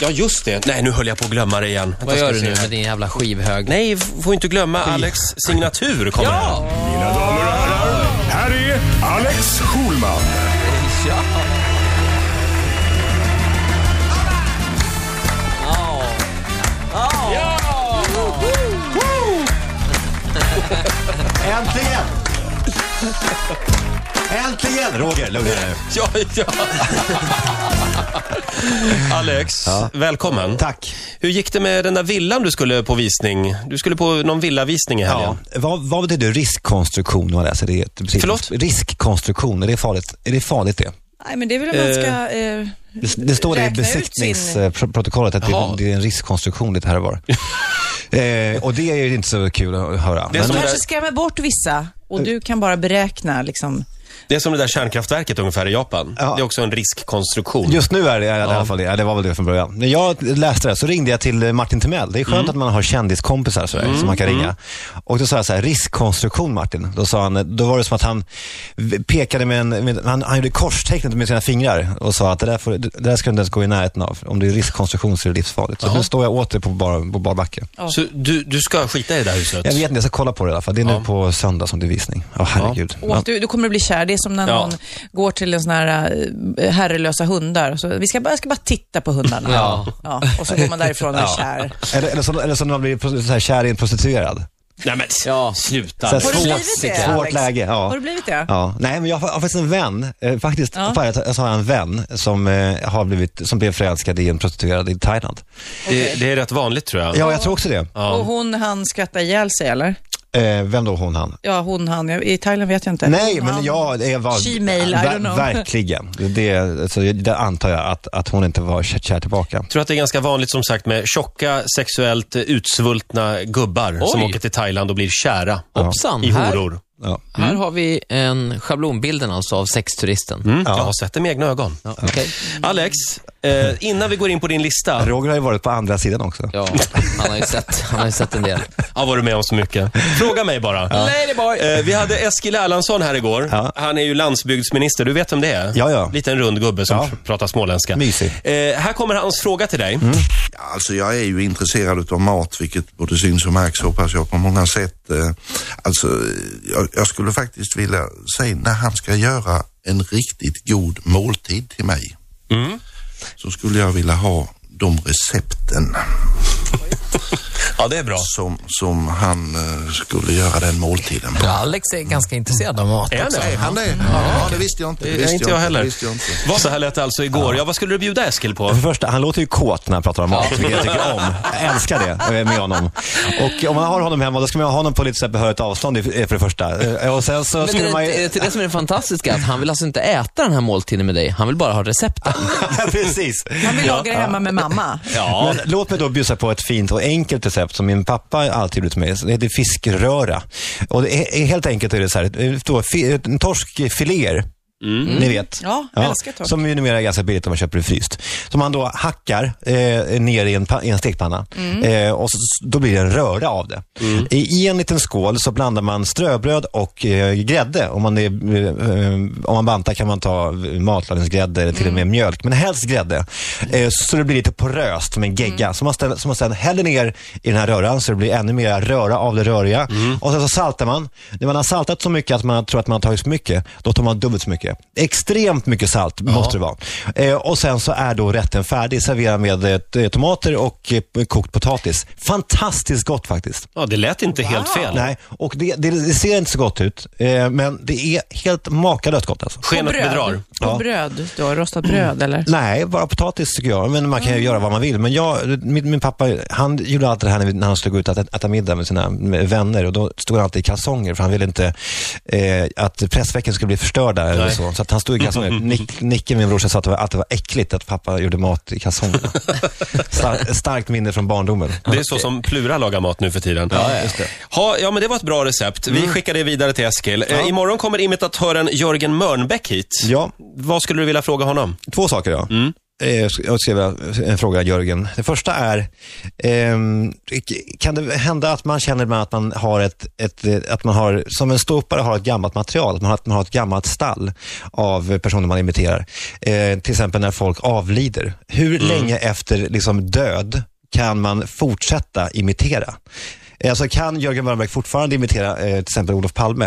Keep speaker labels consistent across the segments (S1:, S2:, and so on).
S1: Ja, just det. Nej, nu höll jag på att glömma det igen. Vänta,
S2: Vad
S1: ska vi
S2: gör du
S1: se
S2: nu
S1: här.
S2: med din jävla skivhög?
S1: Nej, f- får inte glömma Alex signatur kommer här.
S3: Mina damer och herrar, här är Alex Schulman.
S4: Äntligen! Äntligen! Roger, lugna dig nu.
S1: Ja, ja. Alex, välkommen.
S4: Tack.
S1: Hur gick det med den där villan du skulle på visning? Du skulle på någon villavisning i helgen.
S4: Ja. Vad, vad betyder riskkonstruktion? Vad läser det? Precis.
S1: Förlåt?
S4: Riskkonstruktion, är det farligt? Är det farligt det?
S5: Nej, men det är väl om man ska... Eh,
S4: Det, det står i
S5: räkna ut sin-
S4: besiktningsprotokollet att det,
S1: Jaha.
S4: det är en riskkonstruktion lite här och var. eh, och det är ju inte så kul att höra.
S1: Det
S4: Men- Eh.
S1: är
S5: De
S1: som-
S5: kanske skrämmer bort vissa och du kan bara beräkna liksom.
S1: Det är som det där kärnkraftverket ungefär i Japan.
S4: Ja.
S1: Det är också en riskkonstruktion.
S4: Just nu är det i alla fall det. Ja, det var väl det från början. När jag läste det så ringde jag till eh, Martin Timell. Det är
S1: Mm.
S4: skönt att man har kändiskompisar sådär, som man kan ringa. Och då sa jag så här, riskkonstruktion Martin. Då sa han, då var det som att han v- pekade med en, med, han, han gjorde korstecknet med sina fingrar och sa att det där, får, det där ska du inte ens gå i närheten av. Om det är riskkonstruktion så är det livsfarligt. Så nu står jag åter på bar, på bar backe.
S1: Så du, du ska skita i det där huset?
S4: Jag vet inte, jag ska kolla på det i alla fall. Det är nu på söndag som det är visning. Ja, herregud.
S5: Åh, du, du kommer att bli kär. Det är som när
S1: Ja.
S5: någon går till en sån här eh, herrelösa hundar. Så vi ska bara, jag ska bara titta på hundarna.
S2: Ja.
S5: Ja, och så går man därifrån och är kär.
S4: Eller, eller, som, eller som när man blir pro- så här, kär i en prostituerad.
S1: Nej men
S2: Ja.
S1: sluta.
S4: Så här,
S5: Har du
S4: svårt-
S5: blivit det,
S4: Svårt
S5: Alex?
S4: läge. Ja.
S5: Har du blivit det?
S4: Ja, nej men jag har jag har faktiskt en vän, eh, faktiskt,
S5: Ja.
S4: fan, jag sa en vän som, eh, har blivit, som blev förälskad i en prostituerad i Thailand.
S1: Det, det är rätt vanligt tror jag.
S4: Ja, jag tror också det.
S5: Och hon han skrattar ihjäl sig eller?
S4: Eh, vem då, hon, han?
S5: Ja, hon han. Jag- I Thailand vet jag inte.
S4: Nej,
S5: Hon,
S4: men
S5: han.
S4: jag det var...
S5: Gmail, I don't know.
S4: Verkligen. Det, så jag- det antar jag att, att hon inte var kär, kär tillbaka.
S1: Jag tror att det är ganska vanligt som sagt med tjocka, sexuellt eh, utsvultna gubbar som
S2: Oj.
S1: åker till Thailand och blir kära
S2: Hoppsan,
S1: i
S2: här,
S1: horor.
S4: Ja.
S2: här har vi en schablonbilden alltså av sexturisten.
S1: Mm, Jag har sett det med egna ögon.
S2: Ja, okej.
S1: Alex, eh, innan vi går in på din lista.
S4: Roger har ju varit på andra sidan också.
S2: ja, han har ju sett, han har ju sett en del.
S1: Jag har varit med om så mycket. Fråga mig bara.
S2: Ladyboy!
S1: Eh, vi hade Eskil Erlandsson här igår.
S4: Ja.
S1: Han är ju landsbygdsminister. Du vet vem det är?
S4: Ja, ja.
S1: Liten rund gubbe som
S4: Ja.
S1: pr- pratar småländska.
S4: Mysig.
S1: Eh, här kommer hans fråga till dig.
S6: Ja, Alltså jag är ju intresserad av mat, vilket både syns och märks hoppas jag på många sätt. Eh, Alltså eh, jag, jag skulle faktiskt vilja säga när han ska göra en riktigt god måltid till mig så skulle jag vilja ha de recepten
S1: Ja, det är bra.
S6: som, som han eh, skulle göra den måltiden på.
S2: Alex är ganska intresserad av mat.
S1: Är han
S6: Är
S1: det?
S6: han det? Ja, det visste jag inte.
S1: Det
S6: visste
S1: är inte jag heller.
S6: Visste jag inte.
S1: Vad så här lät det alltså igår. Ja, vad skulle du bjuda Eskil på?
S4: För det första, han låter ju kåt när han pratar om mat, vilket jag tycker om. Jag älskar det eh, med honom. Och om man har honom hemma, då ska man ha honom på lite så här behörigt avstånd, i- eh, för det första. Eh, Och sen så
S2: Men eh,
S4: skulle
S2: det,
S4: man ju...
S2: det, det är det som är det fantastiska, att han vill alltså inte äta den här måltiden med dig. Han vill bara ha recepten.
S4: Precis.
S5: Han vill laga det hemma med mamma.
S1: Ja.
S4: Men låt mig då bjussa på ett fint och enkelt recept som min pappa alltid gjorde till mig. Det heter fiskröra. Och det är, är helt enkelt är det så här, eh, då, fi, en torskfiléer. Ni vet.
S5: Ja, älskar torsk.
S4: Som ju numera är ganska billigt om man köper det fryst. Som man då hackar eh, ner i en, pa- i en stekpanna.
S5: Mm.
S4: Eh, och så, då blir det en röra av det. I, I en liten skål så blandar man ströbröd och eh, grädde. Om man, är, eh, eh, om man bantar kan man ta matlagningsgrädde eller till och
S5: Mm.
S4: med mjölk, men helst grädde. Eh, så det blir lite poröst, som en gegga. Så man, ställer, så man sedan häller ner i den här röran så det blir ännu mer röra av det röriga. Och sen så saltar man. När man har saltat så mycket att man tror att man har tagit för mycket, då tar man dubbelt så mycket. Extremt mycket salt måste det vara. Eh, och sen så är då rätten färdig. Servera med eh, t- tomater och eh, kokt potatis. Fantastiskt gott faktiskt.
S1: Ja, det lät inte helt fel.
S4: Nej, och det, det, det ser inte så gott ut, eh, men det är helt makalöst gott alltså.
S1: Skenet bedrar.
S5: På bröd då? Rostat
S4: Mm.
S5: bröd eller?
S4: Nej, bara potatis tycker jag. Men man kan ju göra vad man vill. Men jag, min, min pappa, han gjorde alltid det här när, vi- när han skulle gå ut och äta, äta middag med sina med vänner. Och då stod han alltid i kalsonger för han ville inte eh, att pressvecken skulle bli förstörda eller så. Så att han stod i kalsonger. Nick, Nicke, min brorsa, sa att det, var, att det var äckligt att pappa gjorde mat i kalsonger. Star, starkt minne från barndomen.
S1: Det är så som Plura lagar mat nu för tiden.
S4: Ja, just det. Mm.
S1: Ha, ja, men det var ett bra recept. Vi skickar det vidare till Eskil. Eh, imorgon kommer imitatören Jörgen Mörnbäck hit.
S4: Ja,
S1: Vad skulle du vilja fråga honom?
S4: två saker ja. eh, sk- jag skrev en fråga Jörgen. Det första är, ehm, kan det hända att man känner ibland att man har ett, ett eh, att man har, som en ståuppare har ett gammalt material, att man har, att man har ett gammalt stall av personer man imiterar. Eh, till exempel när folk avlider. Hur länge efter liksom, död kan man fortsätta imitera? Eh, Alltså kan Jörgen Wärnberg fortfarande imitera eh, till exempel Olof Palme?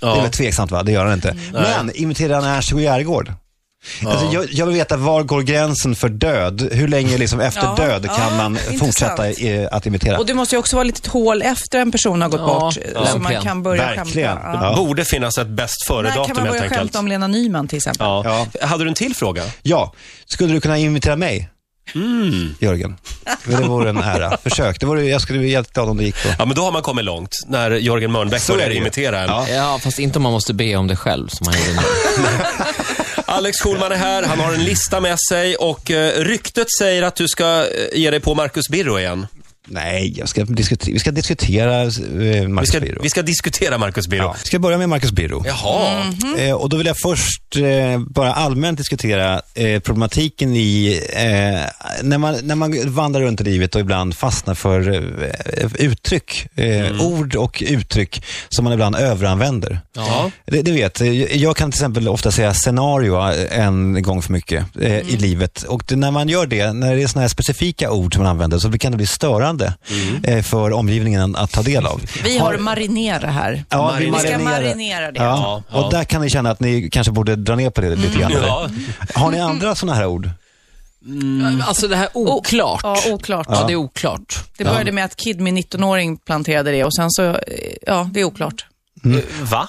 S4: Det är
S1: Ja. Mm.
S4: väl tveksamt va? Det gör han inte. Men imiterar han Ernst Hugo Järegård? Alltså, jag, jag vill veta, var går gränsen för död? Hur länge liksom, efter
S5: Ja,
S4: död kan
S5: ja,
S4: man
S5: intressant.
S4: fortsätta eh, att imitera?
S5: Och det måste ju också vara ett litet hål efter en person har gått
S2: Ja,
S5: bort. Så man
S2: verkligen.
S5: kan börja
S4: Verkligen.
S5: skämta.
S4: Ja.
S1: Borde finnas ett bäst
S5: När kan
S1: före-datum
S5: man
S1: helt
S5: börja
S1: enkelt.
S5: skämta om Lena Nyman till exempel?
S1: Ja. Hade du en till fråga?
S4: Ja, skulle du kunna imitera mig?
S1: Mm.
S4: Jörgen, det vore en ära. Försök. Det vore, jag skulle bli helt glad om det gick. Då.
S1: Ja, men då har man kommit långt. När Jörgen Mörnbäck
S4: Så är
S1: börjar
S4: det ju.
S1: imitera en.
S4: Ja.
S2: Ja, fast inte om man måste be om det själv som han gjorde nu.
S1: Alex Schulman är här, han har en lista med sig och eh, ryktet säger att du ska eh, ge dig på Marcus Birro igen.
S4: Nej, jag ska diskutera, vi ska diskutera eh,
S1: Vi
S4: Marcus
S1: ska,
S4: Birro.
S1: vi ska diskutera Marcus Birro.
S4: Ja. Ska jag börja med Marcus Birro?
S1: Jaha.
S5: Mm.
S4: Eh, och då vill jag först eh, bara allmänt diskutera eh, problematiken i eh, när, man, när man vandrar runt i livet och ibland fastnar för eh, uttryck, eh,
S5: Mm.
S4: ord och uttryck som man ibland överanvänder.
S2: Ja.
S4: Det, det vet, eh, jag kan till exempel ofta säga scenario eh, en gång för mycket eh, i
S5: Mm.
S4: livet. Och det, när man gör det, när det är sådana här specifika ord som man använder så kan det bli störande eh, för omgivningen att ta del av.
S5: Mm. Vi har marinera här.
S4: Ja, vi
S5: Vi ska
S4: marinerar.
S5: marinera det.
S4: Ja.
S1: Ja, ja.
S4: Och där kan ni känna att ni kanske borde dra ner på det lite grann. eller?
S1: Ja.
S4: Har ni andra sådana här ord?
S2: Alltså det här oklart.
S5: Ja, oklart.
S2: Ja, det är oklart.
S5: Det började med att Kid, min 19-åring, planterade det och sen så, eh, ja, det är oklart.
S1: Va?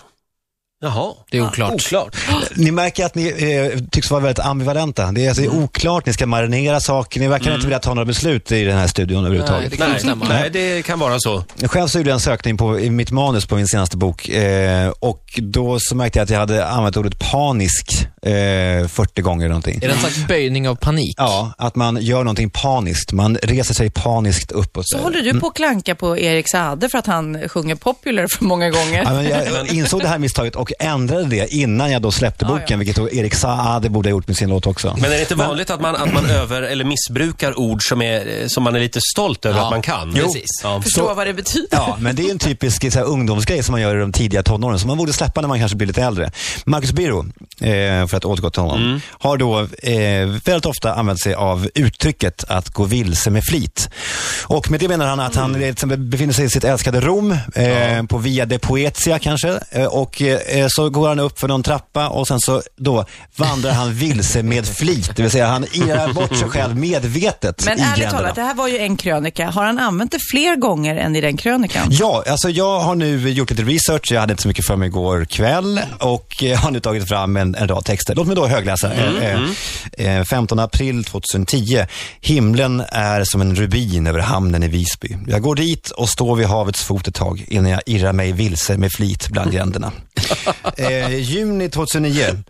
S1: Jaha. Ah,
S2: Det är oklart.
S1: Oklart.
S4: Ni märker att ni eh, tycks vara väldigt ambivalenta. Det är alltså oklart, ni ska marinera saker, ni verkar inte vilja ta några beslut i den här studion
S2: Nej,
S4: överhuvudtaget.
S2: det kan ju
S1: Nej.
S2: stämma.
S1: Nej, det kan vara så.
S4: Själv så gjorde jag en sökning på, i mitt manus på min senaste bok eh, och då så märkte jag att jag hade använt ordet panisk eh, 40 gånger någonting.
S2: Är det en slags böjning av panik?
S4: Ja, att man gör någonting paniskt. Man reser sig paniskt uppåt.
S5: Så håller du på att klanka på Erik Saade för att han sjunger Popular för många gånger.
S4: Ja, men jag insåg det här misstaget och ändrade det innan jag då släppte boken, vilket då Erik Saade borde ha gjort med sin låt också.
S1: Men är det inte vanligt att man, att man över eller missbrukar ord som, är, eh, som man är lite stolt över
S2: Ja,
S1: att man kan?
S2: Jo. precis.
S1: Ja.
S5: Förstå vad det betyder.
S4: Ja, men det är en typisk så här, ungdomsgrej som man gör i de tidiga tonåren, som man borde släppa när man kanske blir lite äldre. Marcus Birro, eh, för att återgå till honom, har då eh, väldigt ofta använt sig av uttrycket att gå vilse med flit. Och med det menar han att han eh, till exempel befinner sig i sitt älskade Rom, eh, på Via de Poetia kanske, eh, och eh, så går han upp för någon trappa och sen så då vandrar han vilse med flit, det vill säga han irrar bort sig själv medvetet
S5: Men
S4: i
S5: ärligt
S4: gränderna.
S5: talat, det här var ju en krönika. Har han använt det fler gånger än i den krönikan?
S4: Ja, alltså jag har nu gjort lite research. Jag hade inte så mycket för mig igår kväll och eh, har nu tagit fram en, en rad texter. Låt mig då högläsa. Eh, eh, eh, 15 april 2010. Himlen är som en rubin över hamnen i Visby. Jag går dit och står vid havets fot ett tag innan jag irrar mig vilse med flit bland gränderna. eh, juni 2009.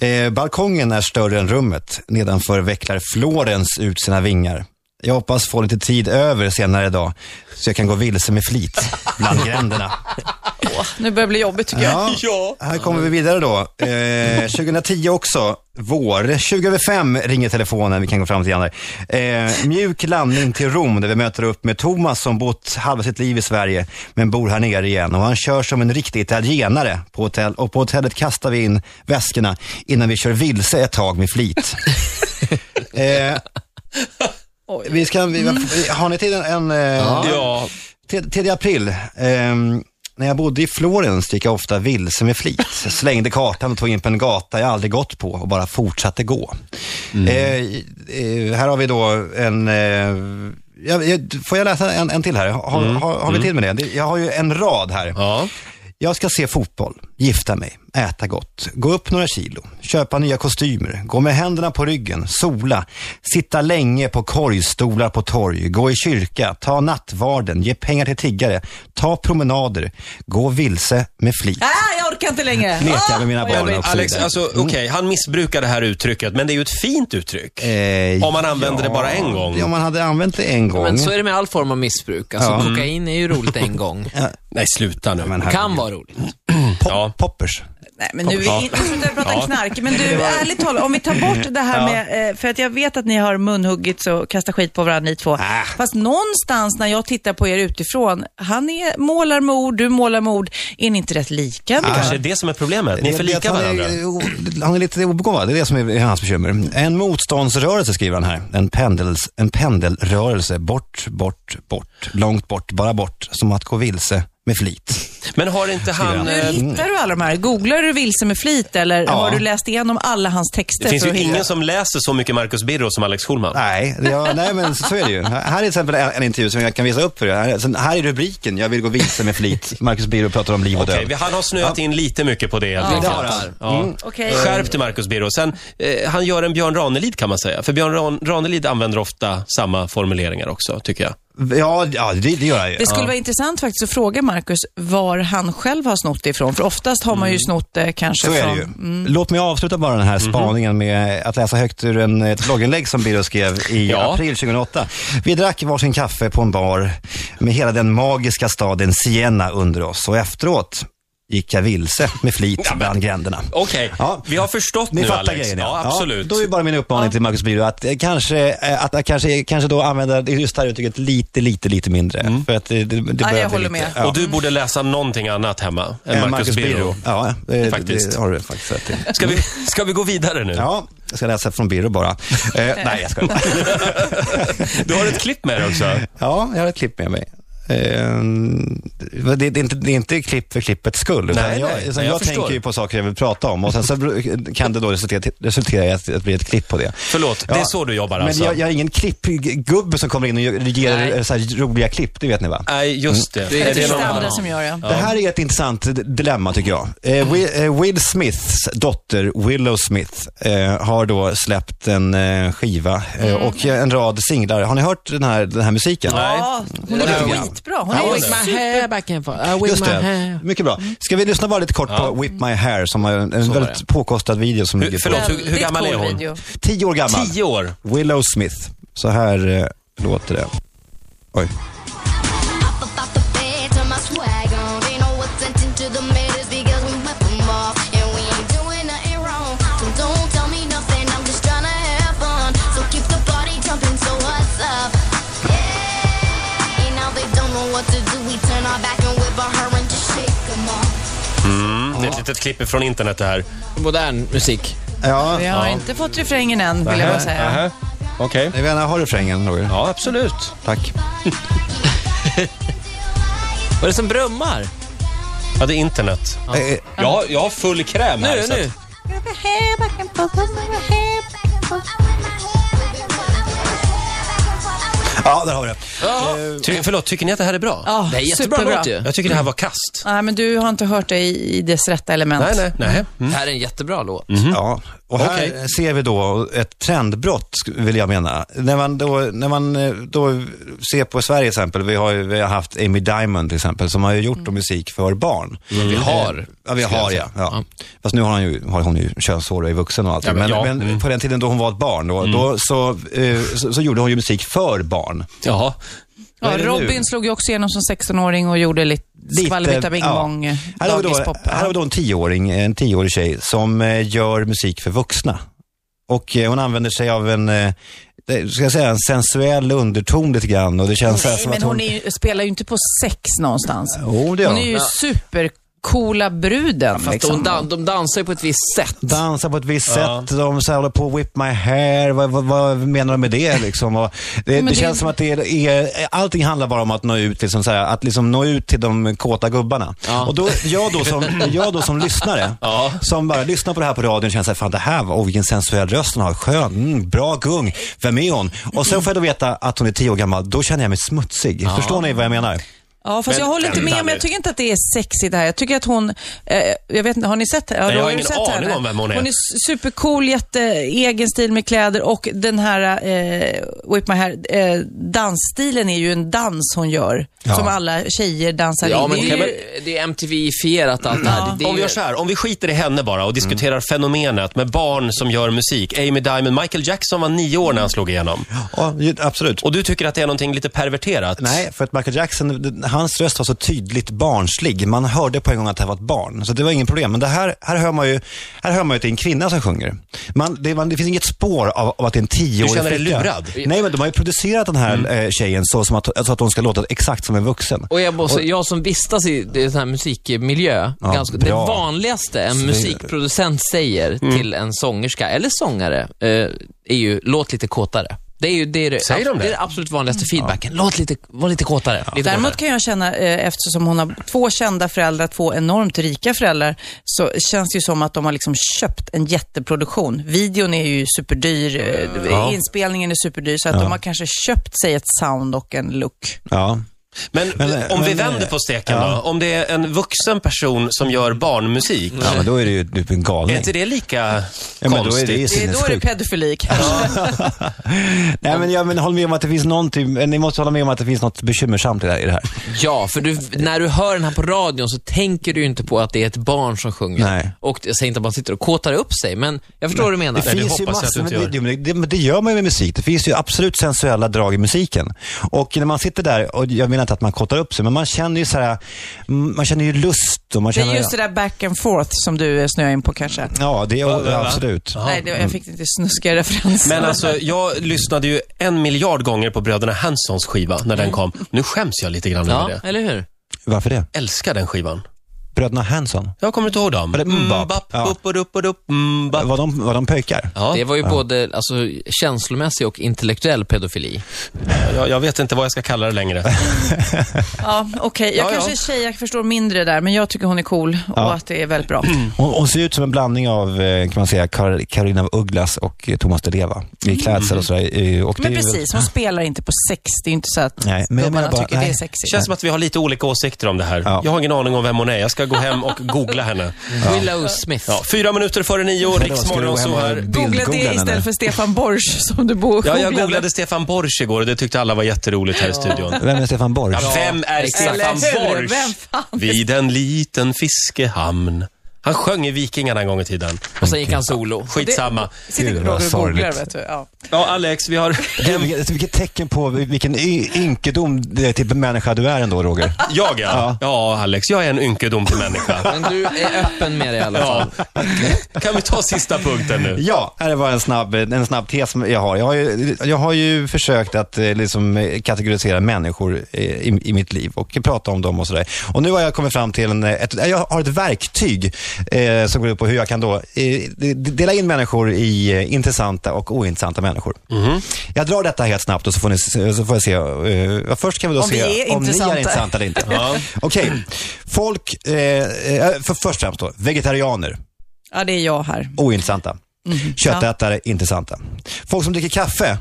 S4: Eh, balkongen är större än rummet. Nedanför vecklar Florens ut sina vingar. Jag hoppas få lite tid över senare idag, så jag kan gå vilse med flit bland gränderna.
S5: Nu börjar det bli jobbigt tycker jag.
S1: Ja.
S4: Här kommer vi vidare då. Eh, 2010 också, vår. 20 över fem ringer telefonen, vi kan gå fram till Janne. Eh, mjuk landning till Rom där vi möter upp med Thomas som bott halva sitt liv i Sverige, men bor här nere igen. Och han kör som en riktig italienare på hotell. Och på hotellet kastar vi in väskorna innan vi kör vilse ett tag med flit. eh, vi ska, vi, Har ni till en, en eh,
S1: Mm. Ja.
S4: 3 april. ehm, när jag bodde i Florens gick jag ofta vilse med flit. Jag slängde kartan och tog in på en gata jag aldrig gått på och bara fortsatte gå.
S1: Mm.
S4: Eh, eh, här har vi då en... Eh, jag, jag, får jag läsa en, en till här? Har, har, har vi tid med det? det? Jag har ju en rad här.
S1: Mm. Ja.
S4: Jag ska se fotboll, gifta mig, äta gott, gå upp några kilo, köpa nya kostymer, gå med händerna på ryggen, sola, sitta länge på korgstolar på torg, gå i kyrka, ta nattvarden, ge pengar till tiggare, ta promenader, gå vilse med flit.
S5: Ah, jag orkar inte längre. Ah,
S4: Leka med mina
S5: vad
S4: barn
S5: jobbigt.
S4: också.
S1: Alex, alltså, okej, han missbrukar det här uttrycket, men det är ju ett fint uttryck.
S4: Eh,
S1: Om man använder det bara en gång.
S4: Ja, om man hade använt det en gång.
S2: Men så är det med all form av missbruk. Alltså
S4: Ja.
S2: kokain är ju roligt en gång.
S1: Nej, sluta nu.
S4: Men här-
S2: Kan vara roligt.
S4: Pop-
S1: Ja.
S4: Poppers.
S5: Nej, men nu är vi inte ute och pratar
S1: Ja.
S5: knark. Men du, ärligt talat, om vi tar bort det här med... eh, För att jag vet att ni har munhuggits och kastat skit på varandra ni två.
S1: Äh.
S5: Fast någonstans när jag tittar på er utifrån, han är, målar med ord, du målar med ord. Är ni inte rätt lika?
S1: Det
S5: då?
S1: kanske är det som är problemet. Ni är
S4: Det-
S1: för
S4: det
S1: lika
S4: att han
S1: varandra.
S4: är- o- Han är lite obegåvad, det är det som är hans bekymmer. En motståndsrörelse skriver han här. En, pendels, en pendelrörelse, bort, bort, bort, långt bort, bara bort, som att gå vilse med flit.
S1: Men har inte han...
S5: Hur
S1: eh,
S5: hittar du alla de här? Googlar du vilse med flit eller
S4: Ja.
S5: har du läst igenom alla hans texter?
S1: Det finns
S5: för
S1: ju
S5: att hitta?
S1: ingen som läser så mycket Marcus Birro som Alex Schulman.
S4: Nej, det- ja, nej men så är det ju. Här är till exempel en, en intervju som jag kan visa upp för er. Här, är- sen- här är rubriken, jag vill gå vilse med flit. Marcus Birro pratar om liv och död.
S1: Okej, vi- han har snöat in lite mycket på det helt
S4: Det
S1: enkelt.
S4: har han.
S1: Ja.
S5: Okej.
S4: Eh,
S1: Skärp dig Marcus Birro. Sen, eh, han gör en Björn Ranelid kan man säga. För Björn Ran- Ranelid använder ofta samma formuleringar också, tycker jag.
S4: Ja, ja det, det gör jag ju.
S5: Det skulle vara intressant faktiskt att fråga Marcus var han själv har snott det ifrån. För oftast har
S1: Mm.
S5: man ju snott det kanske
S4: Så är det
S5: från...
S4: ju. Låt mig avsluta bara den här
S1: Mhm.
S4: spaningen med att läsa högt ur en, ett blogginlägg som Birro skrev i
S1: Ja.
S4: april 2008. Vi drack varsin kaffe på en bar med hela den magiska staden Siena under oss och efteråt gick jag vilse med flit bland gränderna.
S1: Okej,
S4: Ja.
S1: vi har förstått
S4: Ni
S1: nu
S4: fattar
S1: Alex.
S4: grejen
S1: ja, absolut.
S4: då är bara min uppmaning till Marcus Byrå att eh, kanske, eh, att eh, kanske, kanske då använda just det här uttrycket lite, lite, lite mindre. För att det, det, det börjar bli
S5: håller
S4: lite,
S5: med.
S4: Ja.
S1: Mm. Och du borde läsa någonting annat hemma än
S4: Eh,
S1: Marcus, Birro.
S4: Ja, det,
S1: Faktiskt.
S4: det har du faktiskt rätt i.
S1: Ska vi, ska vi gå vidare nu?
S4: Mm. Ja, jag ska läsa från Birro bara. Eh, nej, jag ska inte.
S1: Du har ett klipp med dig också.
S4: Ja, jag har ett klipp med mig. Eh, det, det, är inte, det är inte klipp för klippets skull. utan
S1: Nej,
S4: jag,
S1: nej,
S4: utan
S1: nej, jag
S4: jag,
S1: förstår.
S4: tänker ju på saker jag vill prata om och sen så bru- kan det då resultera, resultera i att det blir ett klipp på det.
S1: Förlåt, det är så du jobbar
S4: men
S1: alltså?
S4: jag, jag är ingen klippgubbe som kommer in och gör- ger
S2: Nej.
S4: eh, så här roliga klipp, det vet ni va?
S1: Nej, just det.
S2: Det är
S1: Är det
S5: Det är
S1: någon
S5: det andra
S1: annan?
S5: som gör det.
S4: Det här är ett intressant d- dilemma tycker jag. Eh, Wi- eh, Will Smiths dotter Willow Smith eh, har då släppt en eh, skiva eh,
S1: Mm.
S4: och en rad singlar. Har ni hört den här, den här musiken?
S5: Ja, hon är
S1: Det
S5: ju
S1: är
S5: skitbra. Hon är ju
S2: With my hair back and forth. I with
S4: Just
S2: my
S4: det,
S2: hair.
S4: mycket bra.
S1: Mm.
S4: Ska vi lyssna bara lite kort på Whip My Hair som är en, en väldigt påkostad video som ligger
S1: förlåt,
S4: på
S1: hur- hur gammal är hon?
S4: tio år gammal.
S1: Tio år?
S4: Willow Smith. Så här eh, låter det. Oj.
S7: Up about the bed, turn my swag on. Pay no attention to the matters because we whip 'em off. And we ain't doing nothing wrong. So don't tell me nothing, I'm just tryna have fun. So keep the party jumping, so what's up? Yeah. And now they don't know what to do. We turn our back and whip on her and just shake 'em off.
S1: Mm, det är ett litet klipp från internet det här.
S2: Modern musik.
S4: Ja,
S5: Jag har inte fått refrängen än, vill jag bara säga.
S1: Okej.
S4: jag vet inte, har du refrängen Roger?
S1: Ja, absolut.
S4: Tack.
S2: Vad är det som brummar?
S1: Ja, det är internet.
S4: Eh, eh,
S1: Ja, jag har full kräm här.
S2: Nu,
S1: så att-
S2: nu.
S4: ja, där har vi det.
S1: Ty, förlåt, tycker ni att det här är bra?
S5: Ja,
S2: Det är jättebra låt ju. Mm.
S1: Jag tycker det här var kast.
S5: Nej, men du har inte hört det i, i dess rätta element.
S1: Nej, nej, Mm. nej.
S2: Det här är en jättebra låt.
S4: Ja, och här
S1: Mm. Okej.
S4: ser vi då ett trendbrott, sk- vill jag mena. När man då, när man eh, då ser på Sverige till exempel, vi har, ju- vi har haft Amy Diamond till exempel, som har ju gjort då musik för barn.
S2: Vi har.
S4: Ja, vi har ja. ja. Fast nu har hon ju, har hon ju könshår och är vuxen och allt.
S1: Ja, men
S4: men
S1: ja. Mm.
S4: men på den tiden då hon var ett barn, då, då, så, eh, så, så gjorde hon ju musik för barn.
S1: Jaha.
S5: Ja,
S4: är det nu?
S5: Robin slog ju också igenom som 16-åring och gjorde lite skvallerbytta bing bong
S4: ja.
S5: ja.
S4: Här har vi då,
S5: dagispop.
S4: här har vi då en tioåring, en tioårig tjej som eh, gör musik för vuxna. Och eh, hon använder sig av en, eh, det- ska jag säga, en sensuell underton lite grann och det känns så här
S5: Nej,
S4: som att
S5: men
S4: hon...
S5: hon är ju, spelar ju inte på sex någonstans.
S4: Jo, det gör
S5: Hon är ju
S2: Ja.
S5: supercoola bruden.
S2: Fast
S5: liksom.
S2: de, dan- de dansar ju på ett visst sätt.
S4: Dansar på ett visst sätt, de så här håller på och whip my hair, vad, vad, vad menar de med det liksom? Och det, det,
S5: men det-
S4: känns som att det är, är, allting handlar bara om att nå ut, liksom så här, att liksom nå ut till de kåta gubbarna. Och då, jag, då som, jag då som lyssnare, som bara lyssnar på det här på radion och känner så här, fan det här, var- oh, vilken sensuell röst hon har, skön, mm, bra gung, vem är hon? Och sen får jag då veta att hon är tio år gammal, då känner jag mig smutsig. Förstår ni vad jag menar?
S5: Ja, fast jag håller inte med.
S1: vänta
S5: Men jag
S1: nu.
S5: tycker inte att det är sexigt det här. Jag tycker att hon, eh, jag vet inte, har ni sett ja, då
S1: har
S5: du
S1: ingen
S5: sett
S1: aning
S5: henne.
S1: om vem hon är.
S5: Hon är su- supercool, jätte, egen stil med kläder och den här eh, Whip My Hair, eh, dansstilen är ju en dans hon gör. Som alla tjejer dansar
S2: Ja,
S5: in.
S2: men
S5: det är ju,
S2: det, det är MTV-fierat allt det här. Det, det är
S1: Om vi
S2: ju- Mm.
S1: gör så här, om vi skiter i henne bara och diskuterar fenomenet med barn som gör musik. Amy Diamond, Michael Jackson var nio år när han slog igenom.
S4: Ja, ju- absolut.
S1: Och du tycker att det är någonting lite perverterat?
S4: Nej, för att Michael Jackson, hans röst var så tydligt barnslig. Man hörde på en gång att det här var ett barn. Så det var ingen problem. Men det här, här hör man ju, här hör man ju att det är en kvinna som sjunger. Man, det, man, det finns inget spår av, av att det är en tioårig
S1: Du känner dig
S4: flicka.
S1: lurad? Mm.
S4: Nej, men de har ju producerat den här eh, tjejen så, som att, så att hon ska låta exakt som en vuxen.
S2: Och jag, måste, jag som vistas i det- sån här musikmiljö,
S4: Ja,
S2: ganska, det
S4: bra.
S2: vanligaste en
S4: Snygg.
S2: musikproducent säger till en sångerska, eller sångare, eh, är ju låt lite kåtare. Det är ju det, är det,
S1: Säger de det?
S2: det? Mm. är det absolut vanligaste feedbacken. Låt lite, var lite kåtare. Lite
S5: Däremot
S2: kåtare.
S5: kan jag känna, eh, eftersom hon har två kända föräldrar, två enormt rika föräldrar, så känns det ju som att de har liksom köpt en jätteproduktion. Videon är ju superdyr, eh, inspelningen är superdyr, så att de har kanske köpt sig ett sound och en look.
S4: Ja.
S1: Men,
S4: Men-
S1: om vi
S4: men-
S1: vänder på steken
S4: Ja.
S1: då. Om det är en vuxen person som gör barnmusik.
S4: ja, men då är det ju typ en
S1: Är
S4: galning.
S1: inte det lika
S4: Ja, men då är det ju
S1: konstigt?
S5: Det är då är det
S4: sinnessjukt.
S5: pedofili kanske.
S4: Nej, men jag men, håller med om att det finns någonting, eh, ni måste hålla med om att det finns något bekymmersamt i det här. I det här.
S2: Ja, för du, när du hör den här på radion så tänker du ju inte på att det är ett barn som sjunger.
S4: Nej.
S2: Och jag säger inte att man sitter och kåtar upp sig, men jag förstår vad du menar.
S4: Det finns ju
S1: hoppas jag att du
S4: massor,
S1: inte
S4: men det, jo, men det, men det gör man ju med musik. Det finns ju absolut sensuella drag i musiken. Och när man sitter där, och jag menar inte att man kottar upp sig, men man känner ju så här, mm, man känner ju lust och man
S5: Det
S4: känner...
S5: är just det där back and forth som du eh, snöar in på kanske.
S4: Ja, det är
S1: va?
S4: absolut.
S5: Nej, det, jag fick inte snuskiga referenser.
S1: Men alltså, jag lyssnade ju en miljard gånger på Bröderna Hansons skiva när den kom. Nu skäms jag lite grann över
S2: Mm. Ja,
S1: det.
S2: eller hur?
S4: Varför det?
S1: Älskar den skivan.
S4: Bröderna Hanson,
S1: Jag kommer inte ihåg dem. Mm,
S4: Var det Mbap?
S1: Mbap,
S4: Ja.
S1: upp och upp och upp, Mbap.
S4: var de, var de pöjkar?
S1: Ja,
S2: Det var ju både alltså, känslomässig och intellektuell pedofili.
S1: jag, jag vet inte vad jag ska kalla det längre.
S5: Ja, okej. Jag
S1: Ja, ja.
S5: kanske är tjej, jag förstår mindre där, men jag tycker hon är cool och att det är väldigt bra.
S4: Hon, hon ser ut som en blandning av, eh, kan man säga, Kar- Carolina af Ugglas och eh, Thomas Di Leva i klädsel och sådär. eh, Och
S5: Mm. Men
S4: det är väl-
S5: precis, hon spelar inte på sex. Det är inte så att
S4: Nej, men jag
S5: gubbarna
S4: menar bara-
S5: tycker det
S4: nej.
S5: är sexigt.
S1: känns som att vi har lite olika åsikter om det här.
S4: Ja.
S1: Jag har ingen aning om vem hon är. Jag ska gå hem och googla henne.
S2: Willow Smith.
S1: Ja, fyra minuter före nio,
S4: Vadå, ska du gå
S1: Riksmorgon
S4: hem
S1: så
S4: och
S1: här.
S5: Googla
S4: bildgoogla
S5: det
S4: henne?
S5: istället för Stefan Borsch som du bo-
S1: Ja, jag googlade Stefan Borsch igår och det tyckte alla var jätteroligt här i studion.
S4: Vem är Stefan Borg?
S1: Ja, vem är Stefan
S5: Eller hur?
S1: Borsch?
S5: Vem fan?
S1: Vid en liten fiskehamn. Han sjöng i Vikingarna en gång i tiden.
S2: Och sen gick han solo.
S1: Skitsamma.
S5: Sitter
S4: Gud,
S5: Roger
S4: vad
S5: och googlar,
S4: sorgligt.
S5: vet du. Ja.
S1: Ja, Alex, vi har...
S4: Gud, vilket, vilket tecken på vilken y- ynkedom det är till människa du är ändå, Roger.
S1: Jag ja. Ja, Alex, jag är en ynkedomlig människa.
S2: Men du är öppen med det i alla fall.
S1: Ja. Kan vi ta sista punkten nu?
S4: Ja, det var en snabb, en snabb tes som jag har. Jag har ju, jag har ju försökt att eh, liksom, eh, kategorisera människor eh, i, i mitt liv och prata om dem och sådär. Och nu har jag kommit fram till en, eh, ett, jag har ett verktyg eh, som går ut på hur jag kan då eh, de- dela in människor i eh, intressanta och ointressanta människor. Jag drar detta helt snabbt och så får, ni, se- så får jag se. eh, ja, först kan vi då
S5: Om vi
S4: se
S5: är
S4: om ni är
S5: intressanta.
S4: intressanta eller inte. Okej, folk, eh, eh, för, först och främst då, vegetarianer
S5: ja, det är jag här.
S4: ointressanta. Mm. Köttätare, intressanta. Folk som dricker kaffe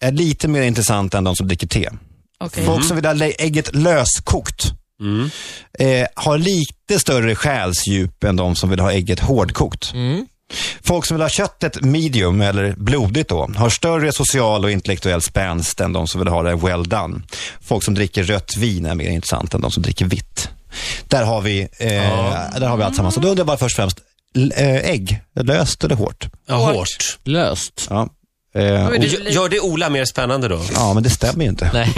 S4: är lite mer intressanta än de som dricker te.
S5: Okej.
S4: Folk som vill ha lä- ägget löskokt eh, har lite större själsdjup än de som vill ha ägget hårdkokt. Folk som vill ha köttet medium, eller blodigt då, har större social och intellektuell spänst än de som vill ha det well done. Folk som dricker rött vin är mer intressant än de som dricker vitt. Där har vi, eh, där har vi allt samman. Så då undrar jag bara först och främst, l- eh, ägg, löst eller hårt?
S1: Ja, hårt.
S2: Löst.
S4: Ja. Eh, och,
S1: Gör- Gör det Ola mer spännande då?
S4: ja, men det stämmer ju inte.
S2: Nej.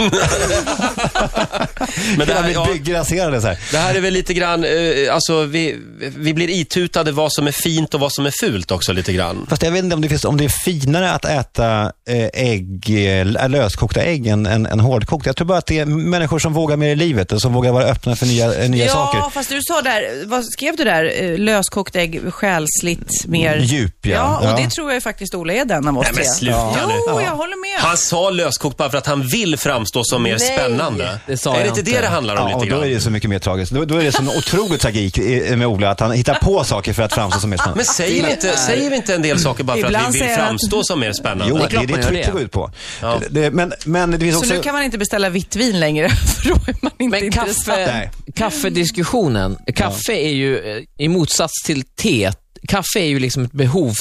S1: Men det,
S4: Hela
S1: här,
S4: mitt
S1: ja,
S4: bygge raserades här.
S1: det här är väl lite grann, eh, alltså vi, vi blir itutade vad som är fint och vad som är fult också lite grann.
S4: Fast jag vet inte om det, finns, om det är finare att äta eh, ägg, eh, löskokta ägg än, än, än hårdkokta. Jag tror bara att det är människor som vågar mer i livet och som vågar vara öppna för nya, eh, nya
S5: Ja,
S4: saker.
S5: fast du sa där, vad skrev du där? Eh, Löskokt ägg, själsligt, mer...
S4: Djup, ja.
S5: Ja, och
S4: Ja.
S5: det tror jag ju faktiskt Ola är den av oss
S1: Nej men
S5: tre.
S1: sluta nu.
S5: Jo, jag håller med.
S1: Han sa löskokt bara för att han vill framstå som mer
S2: Nej,
S1: spännande.
S2: det sa
S1: är det
S2: jag
S1: inte
S2: inte.
S1: det det handlar om
S4: Ja, och
S1: lite
S4: då
S1: grann?
S4: är det så mycket mer tragiskt. Då, då är det sån otrolig tragik i- med Ola, att han hittar på saker för att framstå som mer spännande.
S1: Men säger vi, inte, säger vi inte en del saker bara för
S5: Ibland
S1: att vi vill
S5: säger jag att-
S1: framstå som mer
S4: Jo,
S1: spännande?
S4: det
S2: är klart
S4: är det
S2: man gör
S4: tryck
S2: det.
S4: det går ut på. Det- Det, men, men det finns
S5: Så
S4: också...
S5: nu kan man inte beställa vitt vin längre, för då är man inte
S2: Men
S5: intressant.
S2: kaffe,
S4: Nej.
S2: kaffediskussionen. Kaffe är ju, eh, i motsats till te, kaffe är ju liksom ett behovs...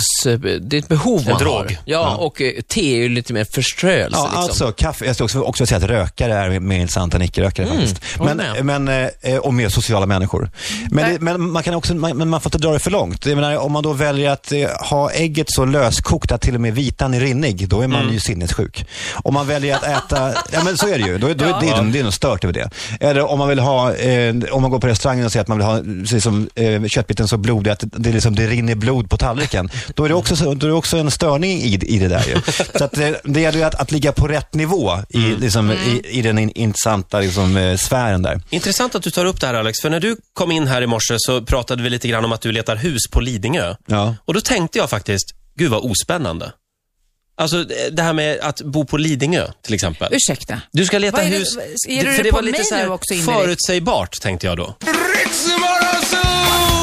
S2: Det är ett behov man
S1: drog.
S2: har. Ja, och eh, te är ju lite mer förströelse.
S4: Ja,
S2: liksom.
S4: alltså kaffe. Jag skulle också, också säga att rökare är mer intressant än icke-rökare faktiskt.
S2: håller
S4: Men, men, eh, och mer sociala människor. Men, det, men, man kan också, man, men man får inte dra det för långt. Jag menar, om man då väljer att eh, ha ägget så löskokt att till och med vitan är rinnig, då är man ju sinnessjuk. Om man väljer att äta, ja men så är det ju, då, är- då, är det, är något- det är något stört över det. Eller om man vill ha, eh, om man går på restaurangen och säger att man vill ha precis som, eh, köttbiten så blodig att det- det, är liksom, det rinner blod på tallriken. Då är det också, så- då är det också en störning i, i det där ju. Så att, eh, det gäller ju att, att ligga på rätt nivå i, liksom, i, i den in, intressanta liksom, eh, sfären där.
S1: Intressant att du tar upp det här Alex, för när du kom in här i morse så pratade vi lite grann om att du letar hus på Lidingö.
S4: Ja.
S1: Och då tänkte jag faktiskt, gud vad ospännande. Alltså det här med att bo på Lidingö till exempel.
S5: Ursäkta.
S1: Du ska leta
S5: Vad är det-
S1: hus.
S5: ger du
S1: för
S5: det
S1: det
S5: på
S1: var lite
S5: mig
S1: så här
S5: nu också, Ingrid?
S1: förutsägbart tänkte jag då.
S3: Riksmorgonzoo!